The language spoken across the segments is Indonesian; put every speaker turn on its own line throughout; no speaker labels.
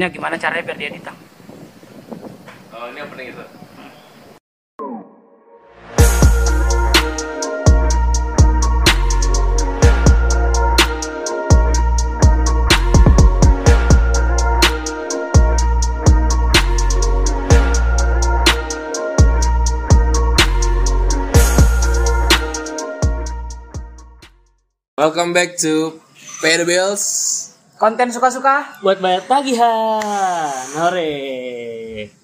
Ini gimana caranya biar dia ditang?
Oh, ini opening itu. Welcome back to Pay the Bills.
Konten suka-suka.
buat bayar tagihan hore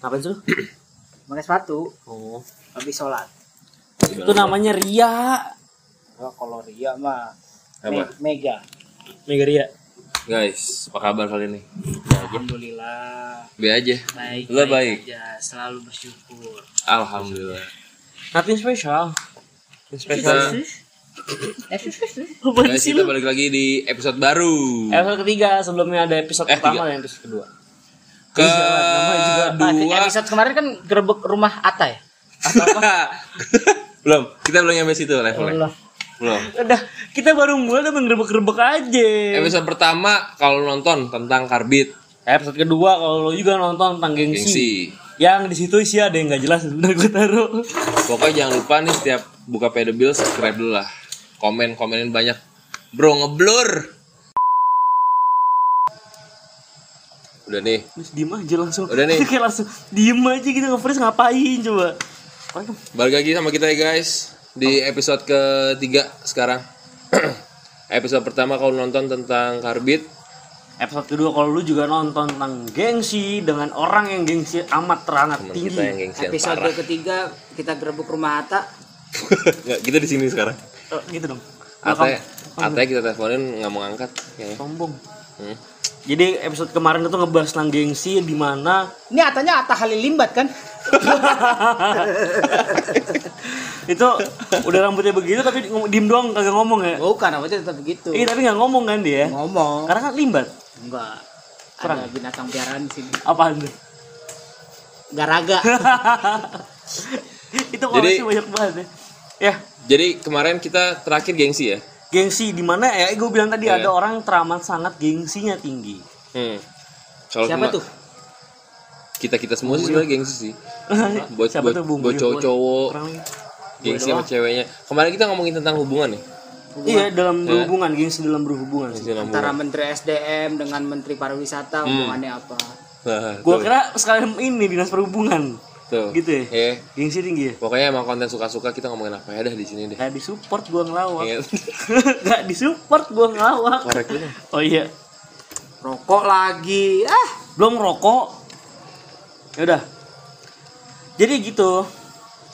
ngapain sih lu?
Pakai sepatu
oh
habis sholat.
itu namanya Ria
Oh, kalau Ria mah
Apa?
me- mega.
Iya. Mega Ria
Guys, apa kabar kali ini?
Alhamdulillah
Be aja.
baik.
Lo baik.
aja, selalu bersyukur.
Alhamdulillah.
nothing special
Kita,
Apaan
guys,
sih
kita
lu?
balik lagi di episode baru.
Eh,
episode ketiga sebelumnya ada episode
Eh,
pertama dan episode kedua
iya,
Kedua.
Episode kemarin kan gerebek rumah Ata ya.
belum. Kita belum nyampe situ levelnya.
Allah.
Belum.
udah kita baru mulai udah menggerebek-gerebek aja
Episode pertama kalau nonton tentang karbit
episode kedua kalau lu juga nonton tentang gengsi,
gengsi.
yang di situ sih ada yang nggak jelas udah gue taruh
Pokoknya jangan lupa nih setiap buka pay the bill subscribe dulu lah. Komen komenin banyak. Bro ngeblur. Udah nih.
terus diem aja langsung
Udah nih.
kayak langsung diem aja gitu nge-freeze ngapain coba Apaan?
Balik lagi sama kita ya guys di episode ketiga sekarang. episode pertama kalau nonton tentang karbit
Episode kedua kalau lu juga nonton tentang gengsi dengan orang yang gengsi amat terangat
teman
tinggi.
kita yang gengsian
Episode
parah.
ketiga kita gerebek rumah Ata.
Nggak, kita di sini sekarang.
Eh, gitu dong.
Ate, Ate kita teleponin nggak mau angkat. kayaknya.
Sombong.
Hmm.
Jadi episode kemarin itu ngebahas tentang gengsi di mana
Ini Atanya Ata Halilimbat kan?
itu udah rambutnya begitu tapi ngom- diem doang kagak ngomong ya.
Oh.
Bukan, namanya tetap begitu.
Eh tapi nggak ngomong kan dia.
Ngomong.
Karena kan limbat.
Enggak.
Kurang.
Ada binatang piaraan di sini.
Apaan tuh?
Garaga.
itu kalau
Jadi-
sih banyak banget ya. Ya,
Jadi kemarin kita terakhir gengsi ya.
gengsi di mana ya? Gue bilang tadi
Iya.
ada orang yang teramat sangat gengsinya tinggi.
Hmm. Kalau
Siapa
kema-
tuh?
Kita kita semua sih sebenarnya gengsi sih. Ah, Buat
Siapa
buat,
tuh Bung?
buat cowok-cowok
Kurang lagi.
gengsi sama ceweknya. Kemarin kita ngomongin tentang hubungan nih.
Iya dalam berhubungan, gengsi dalam berhubungan sih.
Gengsi dalam
antara Menteri SDM dengan Menteri
Hmm.
Pariwisata hubungannya apa?
hubungan. Nah,
Gua
tuh,
kira sekalian ini dinas perhubungan.
tuh.
gitu ya?
Iya.
Gengsi tinggi ya.
Pokoknya emang konten suka-suka kita ngomongin apa ya dah di sini deh.
Gak disupport gua ngelawak.
Iya.
Gak disupport gua ngelawak.
Korek dulu.
Oh iya,
Rokok lagi. Ah,
belum rokok. Ya udah. Jadi gitu.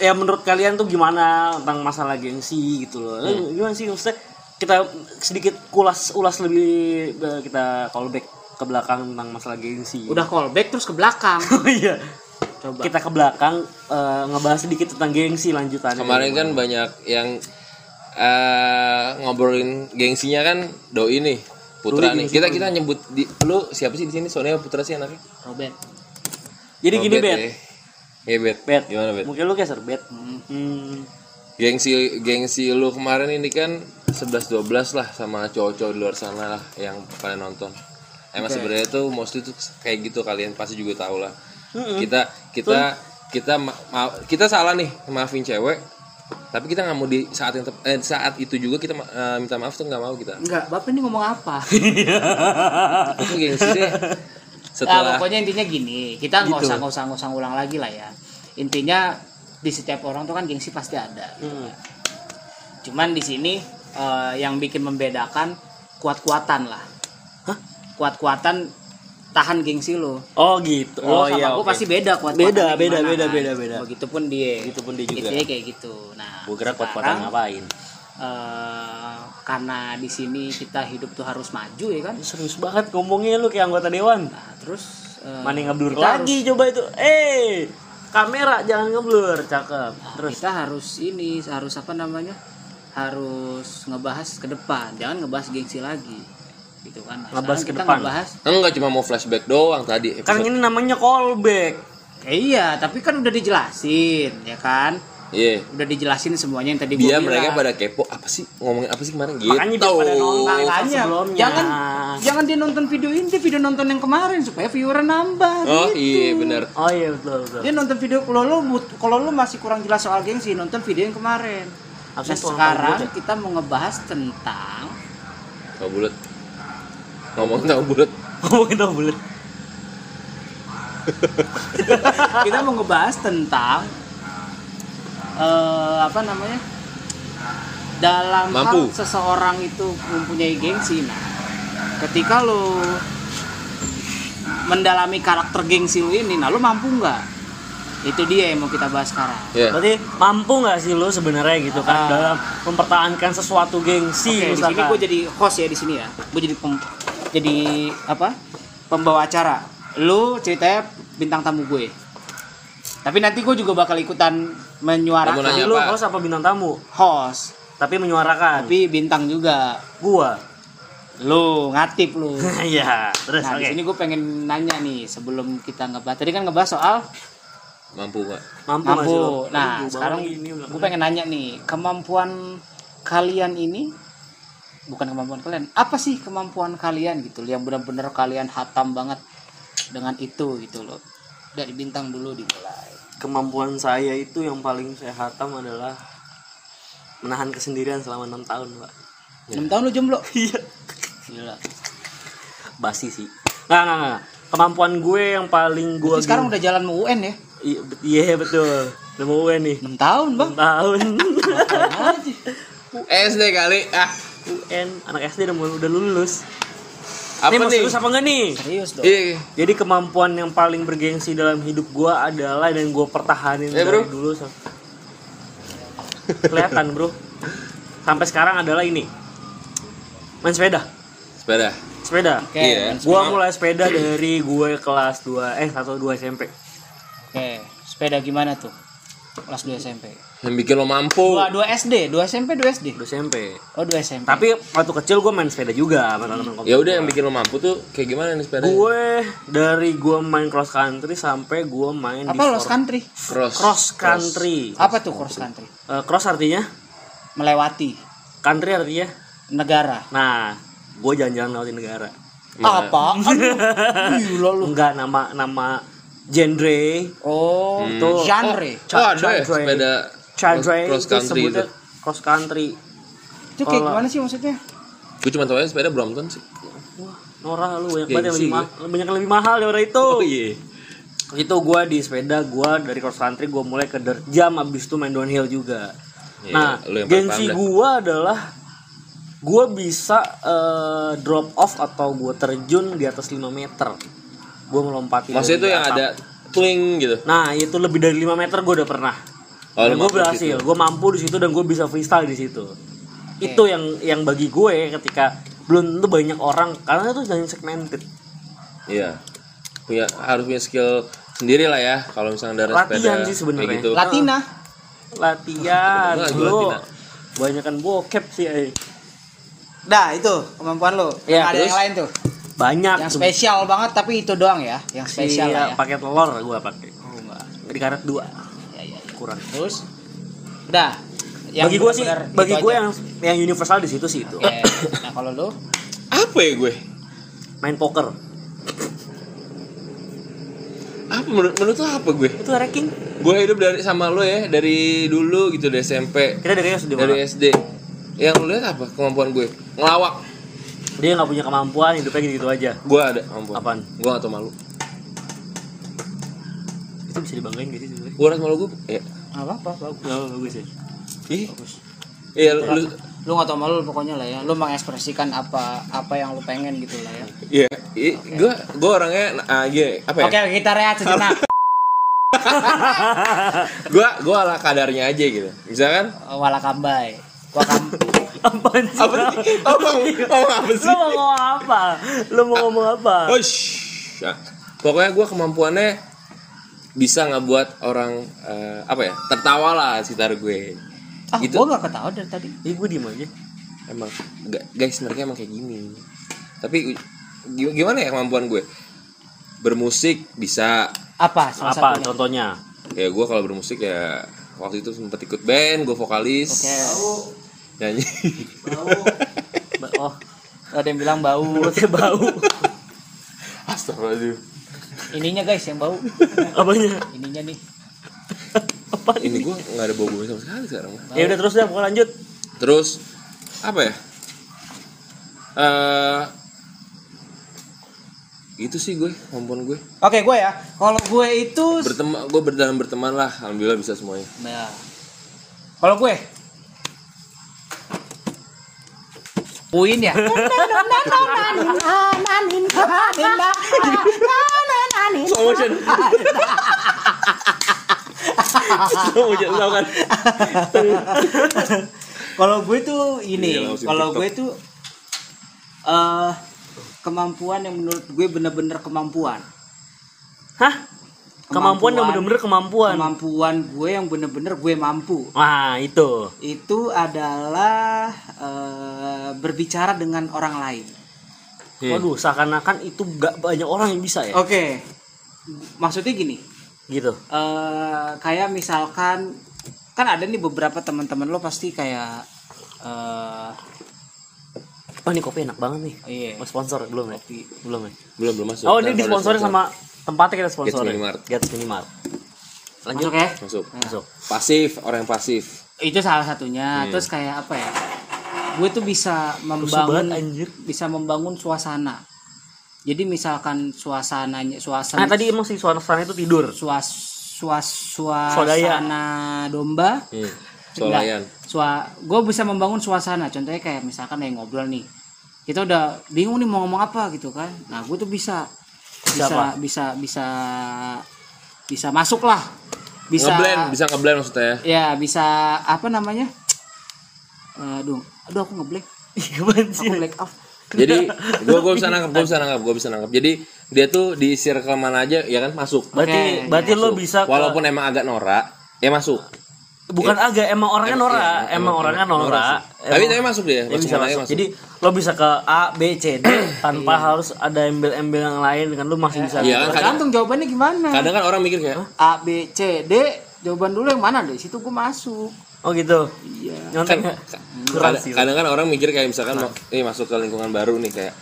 Ya menurut kalian tuh gimana tentang masalah gengsi gitu loh.
Iya.
Lu Gimana sih maksudnya kita sedikit kulas ulas lebih eh, kita callback ke belakang tentang masalah gengsi.
udah callback terus ke belakang.
Oh iya.
Coba.
Kita ke belakang eh, ngebahas sedikit tentang gengsi lanjutannya.
Kemarin kan banyak yang eh, ngobrolin gengsinya kan doi nih. Putra nih.
Doi gengsi
Kita kita nyebut di lu siapa sih di sini? Soalnya Putra sih anaknya.
Robert.
Jadi
Oh,
gini, Bet.
ya. Iya, Bet.
Bet.
Gimana, Bet?
Mungkin lu geser, Bet. Hmm.
Gengsi gengsi lu kemarin ini kan 11 12 lah sama cowok-cowok di luar sana lah yang kalian nonton. Emang sebenarnya tuh mostly tuh kayak gitu kalian pasti juga tahu lah. Kita kita kita ma- ma- kita salah nih maafin cewek. Tapi kita nggak mau di saat yang tep- eh, saat itu juga kita ma- eh, minta maaf tuh nggak mau kita.
Enggak, Bapak ini ngomong apa?
Itu gengsi deh.
Nah,
Setelah
pokoknya intinya gini, kita
Gitu.
nggak usah nggak usah nggak usah ngulang lagi lah ya. Intinya di setiap orang tuh kan gengsi pasti ada. gitu kan. Cuman di sini eh, yang bikin membedakan kuat-kuatan lah. Kuat-kuatan tahan gengsi lo.
Oh gitu.
Lo
Oh,
sama
iya.
gua
oke.
pasti beda kuat
Beda, beda, beda, beda, beda.
Begitupun dia.
Begitupun dia juga.
Intinya kayak gitu. Nah,
Gua kira kuat-kuatan
sekarang,
ngapain?
eh, karena di sini kita hidup tuh harus maju ya kan.
Serius banget ngomongnya lu kayak anggota dewan.
Nah, terus eh,
Mana ngeblur
kita harus-
lagi coba itu. Eh, kamera jangan ngeblur, cakep.
Nah,
Terus
kita harus ini harus apa namanya harus ngebahas ke depan jangan ngebahas gengsi lagi gitu kan Nah,
Ngebahas
sekarang
ke
kita
depan.
ngebahas
enggak cuma mau flashback doang tadi
kan
episode
ini namanya callback.
eh, iya tapi kan udah dijelasin ya kan
Iya.
udah dijelasin semuanya yang tadi gue bilang
Biar Iya, mereka pada kepo apa sih ngomongin apa sih kemarin gitu.
Makanya biar pada nonton
Makanya,
sebelumnya.
jangan jangan dia nonton video ini dia video nonton yang kemarin supaya viewer nambah
Oh
gitu.
iya benar.
Oh iya betul betul.
dia nonton video kalau lo but- kalau lo masih kurang jelas soal gengsi nonton video yang kemarin
Absen
nah
tuh orang
sekarang
bulat
kita mau ngebahas tentang
Tahu bulat. Ngomong tahu bulat.
Ngomongin tau bulat.
kita mau ngebahas tentang eh apa namanya dalam
Mampu.
hal seseorang itu mempunyai gengsi nah ketika lo mendalami karakter gengsi lo ini nah lo mampu nggak itu dia yang mau kita bahas sekarang
Ya.
Berarti mampu nggak sih lo sebenarnya gitu
Ah.
kan dalam mempertahankan sesuatu gengsi
Oke, di sini
misalkan.
gue jadi host ya di sini ya. Gue jadi pem- jadi apa? Pembawa acara. Lu ceritanya bintang tamu gue. Tapi nanti gue juga bakal ikutan
Kamu nanya
menyuarakan
lo
apa?
host apa bintang tamu?
host,
Tapi menyuarakan.
tapi bintang juga.
Gua.
Lu ngatip lu.
Iya. Terus
Nah, di
oke.
sini gue pengen nanya nih sebelum kita ngebahas. Tadi kan ngebahas soal
Mampu nggak?
Mampu, nggak sih lo?
mampu. Nah,
Aduh,
sekarang
bawah ini,
gue pengen nanya nih, kemampuan kalian ini bukan kemampuan kalian, apa sih kemampuan kalian gitu yang benar-benar kalian hatam banget dengan itu gitu loh. Dari bintang dulu dimulai.
kemampuan saya itu yang paling saya hatam adalah menahan kesendirian selama enam tahun pak
6 tahun lu jomblo.
iya
Gila.
basi sih nggak nggak nggak kemampuan gue yang paling gue
Berarti sekarang udah jalan mau UN ya?
iya bet- iya, betul udah mau UN nih
6 tahun, Bang.
Enam tahun
Aja.
SD kali. Ah.
UN anak SD udah mau- udah lulus
Apa
nih, mau
nih?
serius apa enggak nih
Serius dong.
Iya.
jadi kemampuan yang paling bergengsi dalam hidup gue adalah dan gue pertahanin
Eh,
dari
bro.
dulu sam- kelihatan bro sampai sekarang adalah ini main sepeda
Sepeda.
sepeda
Oke.
Iya.
main sepeda.
Gua mulai sepeda dari gue kelas 2 eh 1 2 SMP.
Oke, Eh, sepeda gimana tuh? Kelas 2 SMP.
Yang bikin lo mampu.
2, 2 SD, 2 SMP, 2 SD.
2 SMP.
Oh, 2 SMP.
Tapi waktu kecil gue main sepeda juga sama teman-teman komplek.
Ya udah yang bikin lo mampu tuh kayak gimana nih sepeda?
Gue dari gue main cross country sampai gue main
apa
di
los
for-
country?
Cross.
cross country.
Apa tuh cross country?
Eh, cross artinya
Melewati
country artinya.
negara.
Nah, gue jalan-jalan lewatin negara. Oh, Iya.
Nah.
Apa? Gila lu.
Enggak nama nama genre
Oh,
Hmm. itu
genre.
Oh, ada ya
Chandra.
sepeda
genre
cross
itu
country itu.
sebutnya cross country.
Itu kayak
Kalau-
gimana sih maksudnya?
Gue cuma tau aja sepeda Brompton sih.
Wah, Nora lu banyak banget yang
Gengsi
lebih mahal, banyak yang lebih mahal daripada itu.
iya.
Itu gua di sepeda, gua dari cross country gua mulai ke dirt jam abis itu main downhill juga.
Iya,
nah,
lu yang paling
gengsi
paham dah.
gua adalah gua bisa eh, drop off atau gua terjun di atas 5 meter. Gua melompati.
Maksudnya
dari
tuh yang
atap.
ada pling gitu.
Nah, itu lebih dari 5 meter gua udah pernah.
Oh, lu
dan gua
mampu
berhasil,
gitu.
gua mampu di situ dan gua bisa freestyle di situ. Itu yang yang bagi gue ketika belum tentu banyak orang karena itu jangan segmented.
Iya. Punya harus punya skill sendiri lah ya kalau misalnya dari sepeda.
Latihan sih sebenarnya.
kayak Gitu.
Latina.
latihan
Kebetulan gua
lu
latihan.
banyakan bokep sih eh.
Dah, itu kemampuan lo. Nggak
Iya,
ada
terus?
yang lain tuh.
banyak
Yang
tuh.
spesial banget tapi itu doang ya, yang spesial
Iya,
lah ya. Oh,
pakai telur gua pakai di karet dua
Ya, ya, ya.
kurang
Terus dah.
bagi gua sih
benar-benar
bagi
itu
gua
gitu aja.
yang yang universal di situ sih itu
Oke. Nah, kalau lo
Apa ya gue?
main poker
Apa menurut, menurut lo apa gue?
itu ranking
Gue hidup dari sama lo ya dari dulu gitu dari SMP,
kita dari SD
dari
mana
SD. Yang lo lihat apa kemampuan gue? Ngelawak.
dia nggak punya kemampuan hidupnya gitu, -gitu aja
Gue ada kemampuan.
Apaan?
Gue gak tau malu.
itu bisa dibanggain gitu sih sebenarnya
Gue rasa malu gue. Ya.
apa apa bagus.
Nggak, bagus ya
Ih. Iya, lu,
Lu nggak tau malu pokoknya lah ya. Lu mengekspresikan apa apa yang lu pengen gitu lah ya.
iya, iya, gue, gue orangnya, ah, iya, apa ya?
Oke, kita rehat sejenak.
Gue, gue ala kadarnya aja gitu. Misalkan,
Wala kambai. Wakam
apaan sih
apa sih? Apa, apa, apa
Iya. lu
sih?
mau ngomong apa lu mau ngomong apa
Oh. Ush. Nah, pokoknya gue kemampuannya bisa nggak buat orang eh, apa ya tertawa lah sekitar gue.
Ah,
Gitu.
gua gak ketawa dari tadi.
Ih, gue diem aja
Emang ga- guys mereka emang kayak gini. Tapi gi- gimana ya kemampuan gue? Bermusik bisa.
Apa salah
apa
satunya?
contohnya
Ya gue kalau bermusik ya waktu itu sempet ikut band gue vokalis
Oke.
nyanyi
Ba- Oh, ada yang bilang bau.
mulutnya bau
astagfirullahaladzim
Ininya guys yang bau.
apanya
Ininya nih.
apa
ini gue nggak ada bobo sama sekali sekarang
ya udah terus dah pokoknya lanjut
terus apa ya eh itu sih gue kompon gue
Oke, gue ya. Kalau gue itu
berteman gue berdalam berteman lah alhamdulillah bisa semuanya
Nah. Kalau ya. gue Puin ya.
slow motion slow motion tau kan
Kalau gue tuh ini,
Iya, langsung
kalau
TikTok.
gue tuh eh kemampuan yang menurut gue bener-bener kemampuan.
hah kemampuan yang bener-bener kemampuan
Kemampuan gue yang bener-bener gue mampu.
wah itu
Itu adalah eh, berbicara dengan orang lain.
Hmm. Oh.
waduh seakan-akan itu gak banyak orang yang bisa ya
Oke. Maksudnya gini,
gitu
eh kayak misalkan kan ada nih beberapa teman-teman lo pasti kayak eh
oh ini kopi enak banget nih
iya
mau sponsor belum ya belum ya
belum belum masuk
oh
Ntar
ini
ada
disponsori
sponsor.
sama tempatnya kita sponsor
Gets
ya?
Minimart. Hmm.
Gets Minimart lanjut
masuk ya
masuk
masuk
pasif orang yang pasif
itu salah satunya
Iya.
terus kayak apa ya gue tuh bisa
banget,
membangun
anjir.
bisa membangun suasana jadi misalkan suasananya
nah
suasana
tadi emang si suasana itu tidur
suas suas
Swadaya.
suasana domba
hmm. solayan
gue bisa membangun suasana contohnya kayak misalkan yang ngobrol nih kita udah bingung nih mau ngomong apa gitu kan nah gue tuh bisa
Bisa apa?
bisa bisa bisa bisa masuk lah bisa
ngeblend bisa ngeblend maksudnya ya
ya bisa apa namanya aduh aduh aku ngeblank
iya banget sih
aku black out
jadi gue gue bisa nangkap gue bisa nangkap gue bisa nangkap jadi dia tuh di circle mana aja ya kan masuk
berarti
Oke, iya,
berarti lo
Masuk.
bisa ke-
walaupun emang agak norak ya masuk
bukan agak emang orangnya
Emang-
Nora
iya,
Kan emang, orangnya Nora,
sih. tapi tapi masuk dia
Dia
masuk
bisa
mana aja
masuk.
masuk Iya.
jadi lo bisa ke A B C D tanpa
Iya.
harus ada embel-embel yang lain kan lo masih bisa
iya kan kadang,
tergantung jawabannya gimana
kadang kan orang mikir kayak
a b c d jawaban dulu yang mana dari situ gue masuk
oh gitu
iya
nyontek
kan
nggak?
ka-
Kurang
kadang,
sih.
kadang kan orang mikir kayak misalkan mau- nih masuk ke lingkungan baru nih kayak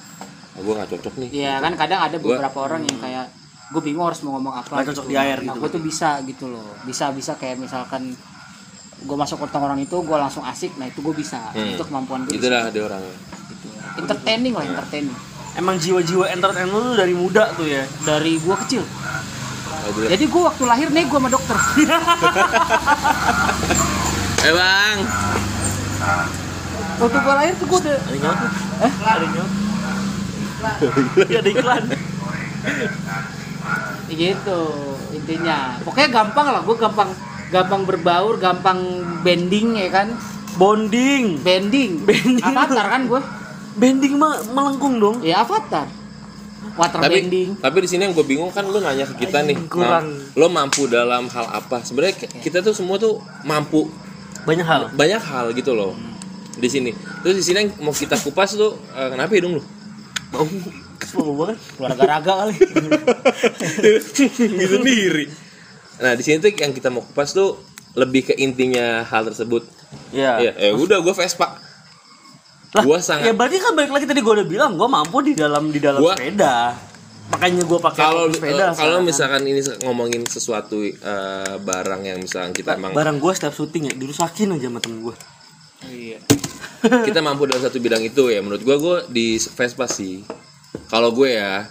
ah, gue nggak cocok nih
Iya kan kadang ada beberapa orang yang kayak gue bingung harus mau ngomong apa.
Nggak cocok di air
Nah,
gitu.
Gue tuh bisa gitu loh. Bisa bisa kayak misalkan gue masuk ke orang itu gue langsung asik. Nah itu gue bisa.
Hmm.
Itu kemampuan gue.
Gitu.
itulah dia orangnya
Gitu. Entertaining lah entertaining.
emang jiwa-jiwa entertainment lo tuh dari muda tuh ya
Dari gue kecil.
Kalau dulu,
Iya.
Jadi gue waktu lahir nih gue sama dokter.
eh bang
waktu gue lahir tuh gue udah
ada nyok ada nyok ada Iya, iklan
gitu intinya. Pokoknya gampang lah. Gue gampang gampang berbaur, gampang bending ya kan.
bonding
Bending.
Bending.
Avatar kan gue.
bending mah melengkung dong
Iya.
Ya avatar. Water
tapi
bending.
tapi di sini yang gue bingung kan lu nanya ke kita nih
kurang.
mam- lo mampu dalam hal apa sebenarnya ki- kita tuh semua tuh mampu
banyak hal
banyak hal gitu loh di sini terus di sini yang mau kita kupas tuh eh, kenapa hidung lu
bau bau
Iya.
banget
keluarga raga kali
gitu sendiri nah di sini tuh yang kita mau kupas tuh lebih ke intinya hal tersebut
Iya.
Iya, eh udah gue Vespa. Gua sangat-
Ya berarti kan balik lagi tadi gue udah bilang gue mampu di dalam di dalam
Gua-
sepeda. Makanya gue pakai
Kalau eh,
sepeda.
kalau
sekarang.
misalkan ini ngomongin sesuatu eh, barang yang misalkan kita emang
barang gue setiap syuting ya dirusakin aja sama temen gue.
iya
kita mampu dalam satu bidang itu ya menurut gua gua di Vespa sih. Kalau gue ya,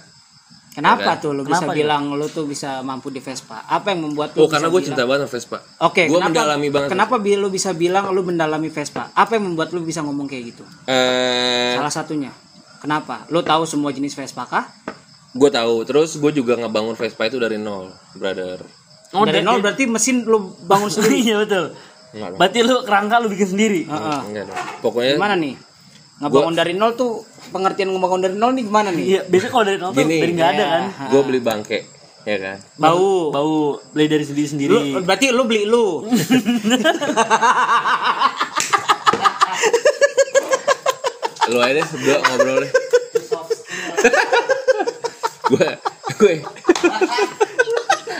Iya kan?
kenapa tuh lu bisa
Kenapa ya?
bilang lu tuh bisa mampu di Vespa apa yang membuat lu
oh karena
bisa
gue
bilang-
cinta banget sama Vespa.
Oke,
gue
kenapa-
mendalami banget.
Kenapa bi- lu bisa bilang lu mendalami Vespa? Apa yang membuat lu bisa ngomong kayak gitu?
Eh,
Salah satunya. Kenapa? Lu tahu semua jenis Vespa kah?
gue tahu. Terus gue juga ngebangun Vespa itu dari nol, brother.
Oh,
Dari
dari-
nol berarti mesin lu bangun sendiri.
iya betul. Ah.
Enggak dong.
Berarti lu kerangka lu bikin sendiri.
Heeh.
Enggak dong. Pokoknya
Ah. Gimana nih? Ngebangun dari nol tuh pengertian ngebangun dari nol nih gimana nih?
Iya, biasanya kalau dari nol tuh
Gini.
dari nggak ada
Iya.
kan.
gue beli bangke, ya kan.
Bau, bau beli dari sendiri sendiri.
Lu, Oh, berarti lu beli lu.
lu aja deh berdua ngobrol deh gue gue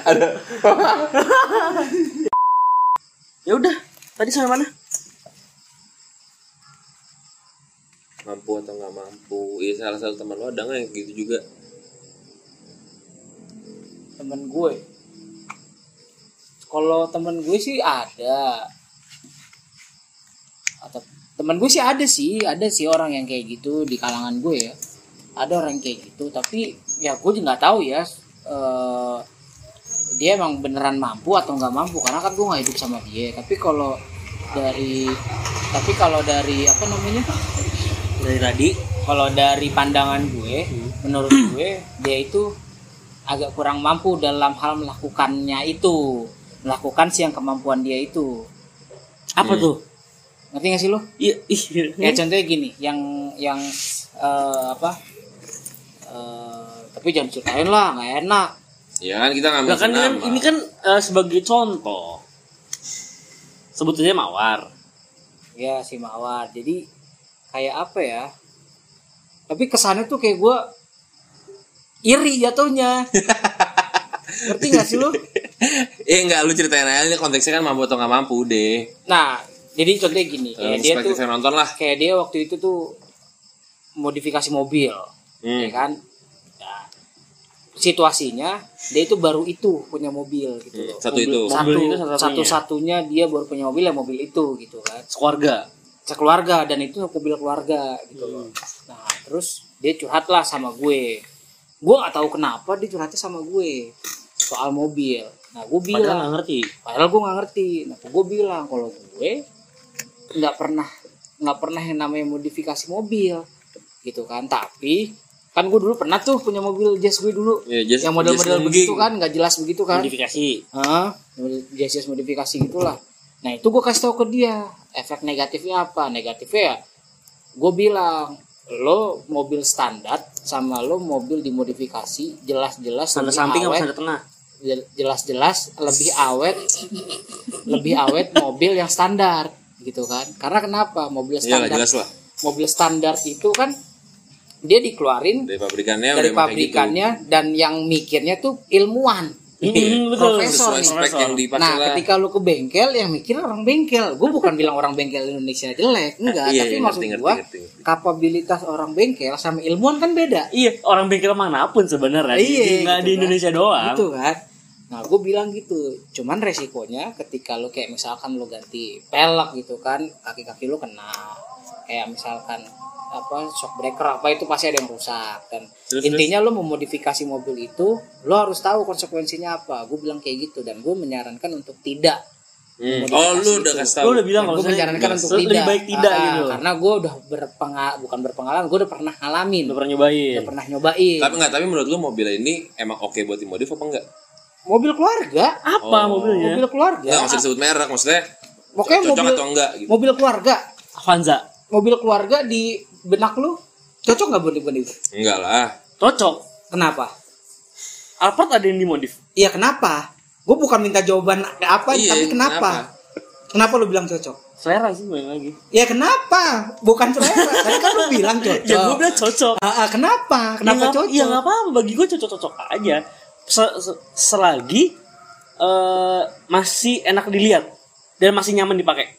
ada
ya tadi sampai mana?
mampu atau nggak mampu ya salah satu teman lo ada nggak yang gitu juga
temen gue kalau temen gue sih ada atau temen gue sih ada sih ada sih orang yang kayak gitu di kalangan gue ya ada orang yang kayak gitu tapi ya gue juga nggak tahu ya eh, dia emang beneran mampu atau nggak mampu karena kan gue nggak hidup sama dia tapi kalau dari tapi kalau dari apa namanya
Dari tadi.
kalau dari pandangan gue menurut gue dia itu agak kurang mampu dalam hal melakukannya itu melakukan sih yang kemampuan dia itu
Apa tuh?
ngerti gak sih lo
Iya, ih.
ya contohnya gini yang yang eh, apa eh, tapi jangan ceritain lah nggak enak
ya kan kita ngambil
Nah, kan, kan-
nama.
ini kan eh, sebagai contoh. Sebetulnya mawar.
ya si mawar jadi kayak apa ya tapi kesannya tuh kayak gue iri jatuhnya ngerti gak sih lo
eh nggak lu ceritain aja ini konteksnya kan mampu atau nggak mampu deh
Nah, jadi contohnya gini, kayak
Dalam
Iya, dia tuh
perspektif yang nonton lah
kayak dia waktu itu tuh modifikasi mobil, ya
hmm.
kan? Nah, situasinya dia itu baru itu punya mobil gitu. loh.
Iya, Satu itu.
satu,
Mobil itu satu-satunya.
satu satunya dia baru punya mobil ya mobil itu gitu kan.
Sekeluarga. Hmm.
Sekeluarga dan itu mobil keluarga gitu loh. Nah, terus dia curhat lah sama gue. Gue gak tahu kenapa dia curhatnya sama gue soal mobil. Nah, gue bilang
Padahal nggak ngerti.
padahal gue nggak ngerti nah gue bilang kalau gue nggak pernah nggak pernah yang namanya modifikasi mobil gitu kan tapi kan gue dulu pernah tuh punya mobil jazz gue dulu
Ya, jazz-
yang model-model
jazz
begitu
nungging.
kan nggak jelas begitu kan
Modifikasi.
Hah? jazz jazz modifikasi gitulah nah itu gue kasih tahu ke dia efek negatifnya apa negatifnya ya gue bilang lo mobil standar sama lo mobil dimodifikasi jelas-jelas
Sanda
lebih
samping apa
awet,
sanda tengah?
Jel- jelas-jelas lebih awet lebih awet mobil yang standar gitu kan karena kenapa mobil
Iyalah,
standar
jelas Iya lah.
mobil standar itu kan dia dikeluarin
dari
dari
pabrikannya emang Iya, kayak gitu.
pabrikannya dan yang mikirnya tuh ilmuwan
Hmm, betul.
Profesor
sesuai
nih.
spek yang dipakai
nah
lah
ketika lu ke bengkel yang mikir orang bengkel gue bukan bilang orang bengkel Indonesia jelek enggak
Iya,
tapi
iya,
maksud
ngerti, ngerti,
gua
ngerti, ngerti.
kapabilitas orang bengkel sama ilmuwan kan beda
Iya, orang bengkel manapun sebenarnya.
Iya,
Jadi
gitu
nggak di
kan.
Indonesia doang.
gitu kan nah gue bilang gitu cuman resikonya ketika lo kayak misalkan lo ganti pelek gitu kan kaki kaki lo kena kayak misalkan apa shock breaker apa itu pasti ada yang rusak dan
Terus,
intinya lo memodifikasi mobil itu lo harus tahu konsekuensinya apa gue bilang kayak gitu dan gue menyarankan untuk tidak
Hmm. oh lu udah kasih tahu
Lu udah bilang
gue
kalau misalnya iya,
menyarankan untuk
lebih
tidak
baik tidak
Ah,
gitu.
karena gue udah berpengal bukan berpengalaman gue udah pernah ngalamin
Udah
udah
pernah nyobain.
pernah nyobain
tapi nggak tapi menurut lu mobil ini emang oke buat dimodif apa enggak
Ya. mobil keluarga Oh.
Apa mobilnya? Ya,
mobil keluarga
nggak usah disebut merek maksudnya
Pokoknya
cocok
mobil-
atau enggak gitu
mobil keluarga
Avanza.
mobil keluarga di benak lu cocok nggak buat dibuat itu?
enggak lah
Cocok.
kenapa
Alphard ada yang dimodif.
iya kenapa gue bukan minta jawaban apa
Iya,
tapi kenapa? kenapa lu bilang cocok
Selera sih balik lagi.
ya kenapa bukan selera tadi kan lu bilang cocok
Ya gue bilang cocok.
Ah, ah, kenapa kenapa
ya, nggak-
cocok
Ya nggak apa-apa. Bagi gue cocok-cocok aja. Se- se- selagi eh, masih enak dilihat dan masih nyaman dipakai.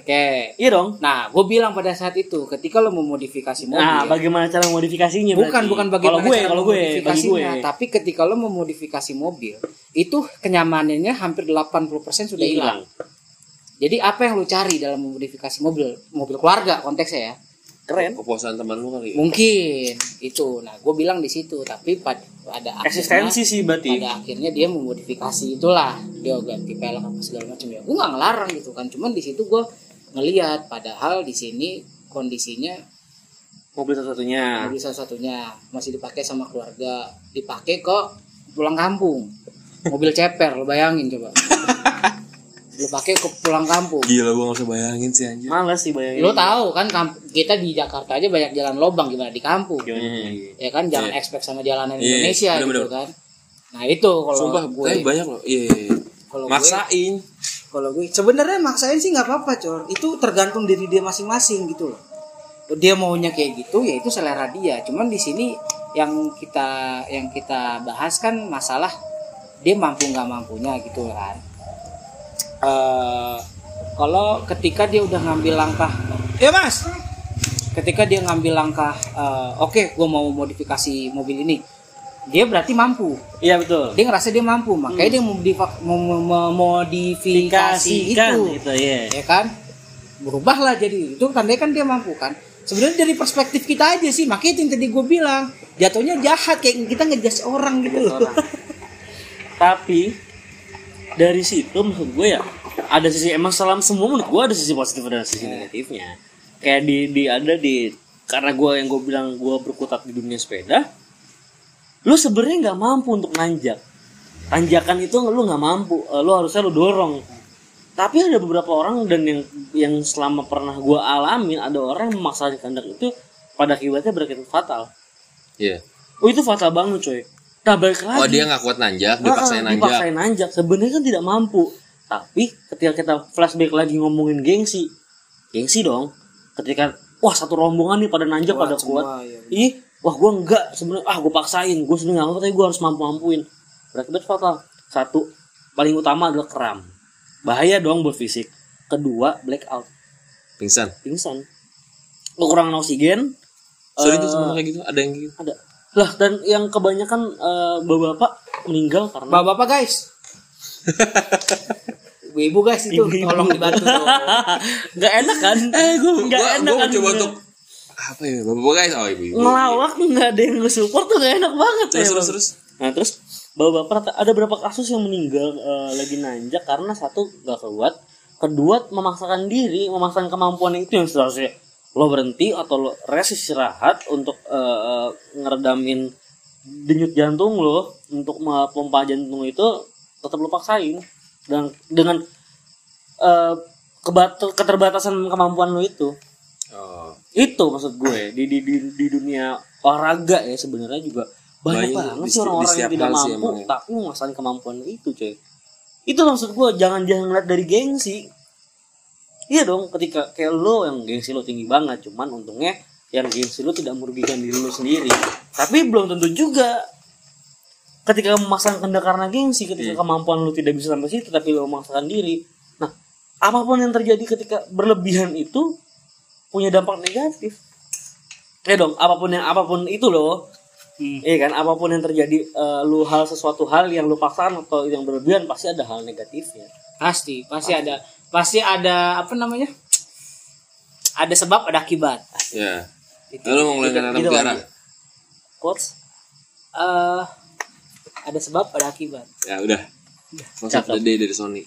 oke
Iya dong.
nah gue bilang pada saat itu ketika lu memodifikasi mobil
Nah, bagaimana cara modifikasinya?
bukan
berarti?
bukan bagaimana
kalau gue,
cara
kalau gue, bagi gue.
memodifikasinya tapi ketika lo memodifikasi mobil itu kenyamanannya hampir 80% sudah hilang
hilang.
Jadi apa yang lu cari dalam memodifikasi mobil? Mobil keluarga konteksnya ya.
Keren.
kepuasan teman lu kali ya.
Mungkin itu. Nah, gue bilang di situ, tapi pad- pada akhirnya-
Eksistensi sih berarti.
pada akhirnya dia memodifikasi itulah dia ganti pelek apa segala macam ya gue nggak ngelarang gitu kan cuman di situ gue ngeliat padahal di sini kondisinya
Mobil satu-satunya.
mobil salah satunya masih dipakai sama keluarga dipakai kok pulang kampung mobil ceper lo bayangin coba lo pakai ke pulang kampung
gila gua nggak usah bayangin sih anjir
Males sih bayangin.
lo tahu kan kamp- kita di Jakarta aja banyak jalan lobang gimana di kampung
Hmm.
ya kan jangan
Iya.
expect sama jalanan
Iya,
Indonesia
bener-bener.
gitu kan nah itu kalau
sumpah
gue
tapi banyak loh iya iya, iya.
Kalau gue-
maksain
kalau gue sebenarnya maksain sih nggak apa-apa cor itu tergantung diri dia masing-masing gitu loh dia maunya kayak gitu ya itu selera dia cuman di sini yang kita yang kita bahas kan masalah dia mampu nggak mampunya gitu kan Eh kalau ketika dia udah ngambil langkah ya mas ketika dia ngambil langkah eh, oke gue mau modifikasi mobil ini dia berarti mampu
Iya betul.
dia ngerasa dia mampu
Hmm.
makanya dia memodifa- mem- mem- memodifikasi
Dikasihkan
itu
itu ya.
ya kan berubahlah jadi itu tandanya kan dia mampu kan sebenarnya dari perspektif kita aja sih makanya itu yang tadi gue bilang jatuhnya jahat kayak kita ngejas orang gitu loh
Tapi dari situ menurut gue ya ada sisi emang salam semua menurut gue ada sisi positif dan sisi
Iya.
negatifnya. Kayak di di ada di karena gue yang gue bilang gue berkutat di dunia sepeda, lu sebenarnya nggak mampu untuk nanjak. Tanjakan itu lu nggak mampu, eh, lu harusnya lu dorong. Tapi ada beberapa orang dan yang yang selama pernah gue alamin ada orang yang memaksakan kehendak itu pada akibatnya berakhir fatal.
Iya.
Oh itu fatal banget coy. Nah balik lagi.
Oh dia nggak kuat nanjak, dipaksain
Ah, ah,
nanjak.
dipaksain nanjak. Sebenarnya kan tidak mampu. Tapi ketika kita flashback lagi ngomongin gengsi, gengsi dong. Ketika wah satu rombongan nih pada nanjak pada kuat.
ya.
Ih, wah gua enggak sebenarnya ah gua paksain, gua sebenarnya enggak kuat, tapi gua harus mampu-mampuin. Berakibat fatal. Satu, paling utama adalah kram. Bahaya dong buat fisik. Kedua, blackout,
Pingsan.
pingsan. Kekurangan oksigen,
Sorry
Eh,
itu semua kayak gitu, ada yang gitu.
ada. Lah dan yang kebanyakan eh, bapak-bapak meninggal karena
bapak-bapak guys ibu-ibu guys itu
Ibu-ibu.
tolong dibantu dong.
Gak enak kan? Eh, gue gak
Gua,
enak
gua
kan?
coba untuk apa ya? Bapak guys, oh ibu. ibu.
ngelawak nggak ada yang nge-support tuh gak enak banget.
Terus
ya,
terus
Bang.
terus.
Nah terus bapak-bapak rata- ada berapa kasus yang meninggal eh, lagi nanjak karena satu gak kuat, kedua memaksakan diri, memaksakan kemampuan itu yang seharusnya lo berhenti atau lo rest istirahat untuk eh, eh, ngeredamin denyut jantung lo untuk me- pompa jantung itu tetap lo paksain dan dengan eh, kebat- keterbatasan kemampuan lo itu
Oh.
itu maksud gue di di di, di dunia olahraga ya sebenarnya juga banyak
Banyak
banget
di-
sih orang-orang yang
di
tidak
setiap hal sih
mampu
emang ya.
tapi masalah kemampuan itu coy itu maksud gue jangan jangan ngeliat dari gengsi iya dong ketika kayak lo yang gengsi lo tinggi banget cuman untungnya yang gengsi lo tidak merugikan diri lo sendiri tapi belum tentu juga ketika memasang kendak karena gengsi
Iya.
ketika kemampuan lo tidak bisa sampai situ tapi lo memaksakan diri nah apapun yang terjadi ketika berlebihan itu punya dampak negatif ya dong apapun yang apapun itu loh Iya kan, apapun yang terjadi, eh, lu hal sesuatu hal yang lu paksakan atau yang berlebihan pasti ada hal negatifnya.
pasti pasti ada pasti ada apa namanya ada sebab ada akibat
Ya. Lalu mau ngelain kata
gitu,
negara.
Bang. Quotes?
eh ada sebab ada akibat
Ya udah. Masuk
Iya. Cakep.
the day dari Sony.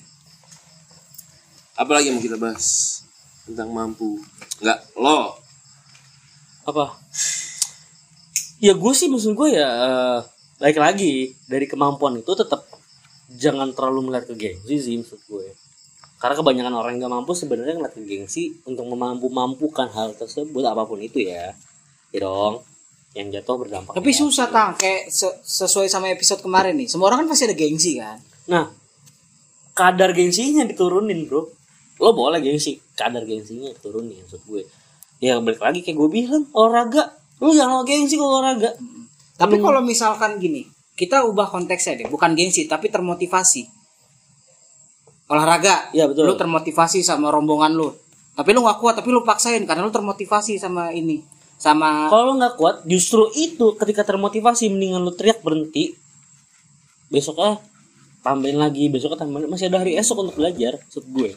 Apalagi yang mau kita bahas tentang mampu. Enggak, lo.
apa ya gue sih maksud gue ya eh, balik lagi dari kemampuan itu tetap jangan terlalu melihat ke gengsi sih maksud gue karena kebanyakan orang yang gak mampu sebenarnya ngeliat ke gengsi untuk memampu mampukan hal tersebut apapun itu ya ya dong yang jatuh berdampak
tapi
ya.
susah tang kayak se- sesuai sama episode kemarin nih semua orang kan pasti ada gengsi kan
nah kadar gengsinya diturunin bro lo boleh gengsi kadar gengsinya diturunin maksud gue ya balik lagi kayak gue bilang olahraga lu jangan gengsi kalau olahraga
Tapi
Hmm.
kalau misalkan gini, kita ubah konteksnya deh, bukan gengsi tapi termotivasi. Olahraga,
Iya, betul.
Lu termotivasi sama rombongan lu. Tapi lu nggak kuat, tapi lu paksain karena lu termotivasi sama ini, sama
Kalau lo nggak kuat, justru itu ketika termotivasi mendingan lo teriak berhenti. Besok ah tambahin lagi, besok ah, tambahin masih ada hari esok untuk belajar, maksud gue.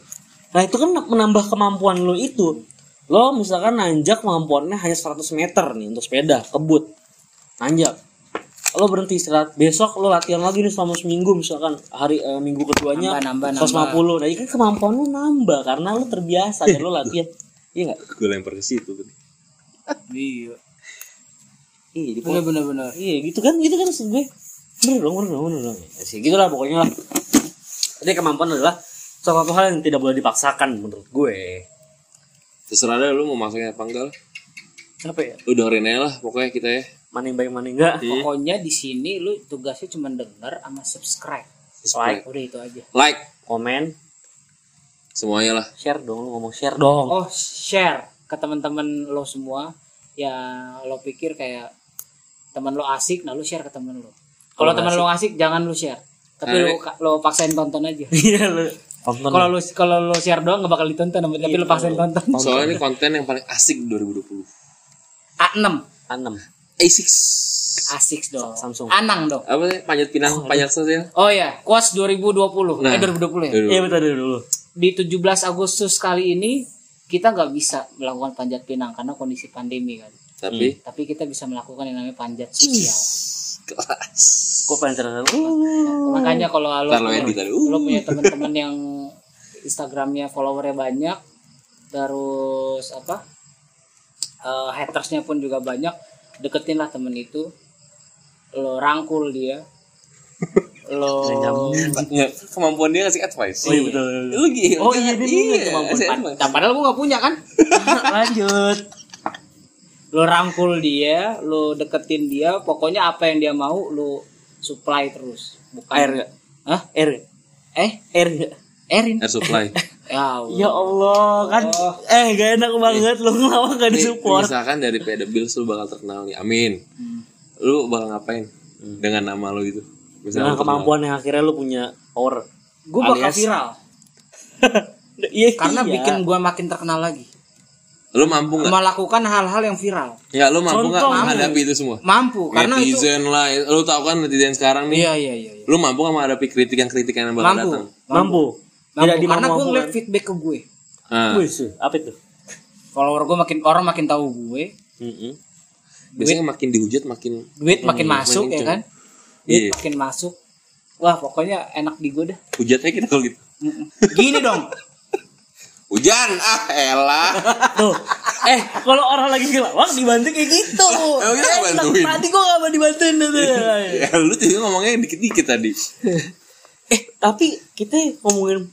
Nah itu kan menambah kemampuan lo itu. Lo misalkan nanjak kemampuannya hanya 100 meter nih untuk sepeda, kebut. Nanjak. Lo berhenti istirahat. Besok lo latihan lagi nih selama seminggu misalkan hari eh, minggu keduanya
Nambah, nambah,
150. Nah, ini kan kemampuan lo nambah karena lo terbiasa dan lo latihan. Iya nggak?
Gue lempar ke situ.
Iya.
Iya, jadi
Bener bener bener.
Iya gitu kan, gitu kan maksud gue. Bener dong, bener dong, bener dong. Ya, sih, gitu lah pokoknya lah. Jadi kemampuan adalah salah satu hal yang tidak boleh dipaksakan menurut gue.
Terserah deh lu mau masukin apa enggak. lah.
Apa ya?
Lu dengerin aja lah pokoknya kita ya.
Mana yang baik mana yang enggak.
Iya, Pokoknya di sini lu tugasnya cuma denger sama subscribe.
Subscribe.
Udah itu aja.
Like
Komen,
semuanya lah.
share dong, lu ngomong share dong.
Oh, share ke teman-teman lo semua yang lo pikir kayak teman lo asik, nah lo share ke teman lo. Kalau teman lo asik jangan lo share. Tapi lo, lo paksain tonton aja.
Iya lu. Tonton.
Kalau lu kalau lu share doang gak bakal ditonton tapi lu paksain tonton.
Soalnya ini konten yang paling asik 2020.
A6,
A6.
A6.
A6 dong.
Samsung.
Anang dong.
Apa sih? Panjat pinang, panjat sosial.
Oh ya, Kuas 2020.
Nah.
Eh 2020 ya.
Iya betul dulu. dulu.
Di 17 Agustus kali ini kita nggak bisa melakukan panjat pinang karena kondisi pandemi kan.
Hmm.
Tapi
Tapi kita bisa melakukan yang namanya panjat sosial.
kelas.
Gua pengen cerita.
Iya, Makanya kalau lo
Ntar lo
punya,
edit Uh. tadi.
lo punya teman-teman yang Instagramnya followernya banyak, terus apa? eh, hatersnya pun juga banyak, deketin lah temen itu, lo rangkul dia, lo
Ya, kemampuan dia ngasih advice.
Iya betul. betul, betul.
Lu gila.
Oh iya, dia punya kemampuan.
ngasih
Pad-
advice.
Nah, padahal gue gak punya kan.
Lanjut.
Lo rangkul dia, lo deketin dia, pokoknya apa yang dia mau lo supply terus. Bukan
Air nggak?
Hah?
Air.
Eh,
Air nggak?
Erin.
Air supply.
Ya, Allah.
er Ya Allah kan
Oh.
eh gak enak
Iya.
banget lu kenapa gak
Nih,
disupport?
misalkan dari Peda Bills lu bakal terkenal nih. Amin.
Hmm.
Lu bakal ngapain dengan nama lu gitu? Misalnya
Dengan kemampuan yang akhirnya lu punya power.
gue bakal
Alias-
viral
Iya.
karena
iya.
bikin gue makin terkenal lagi
lu mampu nggak?
melakukan hal-hal yang viral
Ya lu mampu nggak
Contoh.
menghadapi itu semua?
mampu karena itu
Netizen lah, lu tau kan netizen sekarang nih.
iya iya iya iya.
Lu mampu nggak menghadapi kritik yang kritik yang bakal datang?
mampu
mampu.
Mampu,
Tidak
karena gue
dimampu.
ngeliat ya. feedback ke gue
Nah,
Wih, sih. apa itu?
follower gue makin orang makin tahu gue
biasanya makin dihujat makin
duit makin
Hmm,
masuk ya
kenceng.
kan
iya,
makin masuk wah pokoknya enak di gue dah
hujatnya kita kalau gitu.
Mm-mm. gini dong
Hujan ah elah.
Tuh. Eh, kalau orang lagi ngelawak dibantu kayak gitu.
Lah, emang kita
Eh,
bantuin?
Tadi gua gak mau dibantuin gitu. tuh.
ya lu juga ngomongnya dikit-dikit tadi.
Eh, tapi kita ngomongin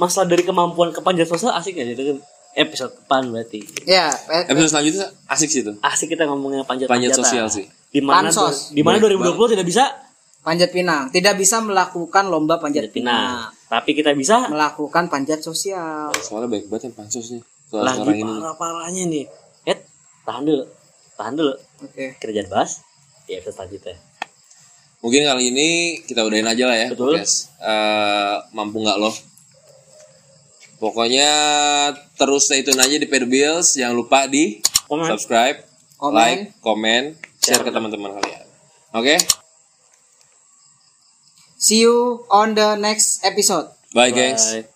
masalah dari kemampuan ke panjat sosial asik gak sih? Itu kan episode depan berarti.
ya eh,
Episode selanjutnya asik sih tuh.
Asik kita ngomongin panjat
Panjat sosial sih.
Di mana
Pansos.
di mana
Boleh
2020 tidak bisa
panjat pinang tidak bisa melakukan lomba panjat
Nah,
pinang
tapi kita bisa
melakukan panjat sosial
Soalnya baik banget yang pansusnya. Soal
lagi
sekarang ini.
parah-parahnya nih. Eh, tahan dulu. Tahan dulu.
oke
Kerjaan bahas di episode selanjutnya.
Mungkin kali ini kita udahin aja lah ya.
Betul.
podcast. Eh, mampu nggak lo? Pokoknya terus stay tune aja di Pedro Bills. Jangan lupa di
Komen.
subscribe,
Komen.
like, komen, share ke teman-teman kalian. Oke,
see you on the next episode Ya.
bye guys.
Bye.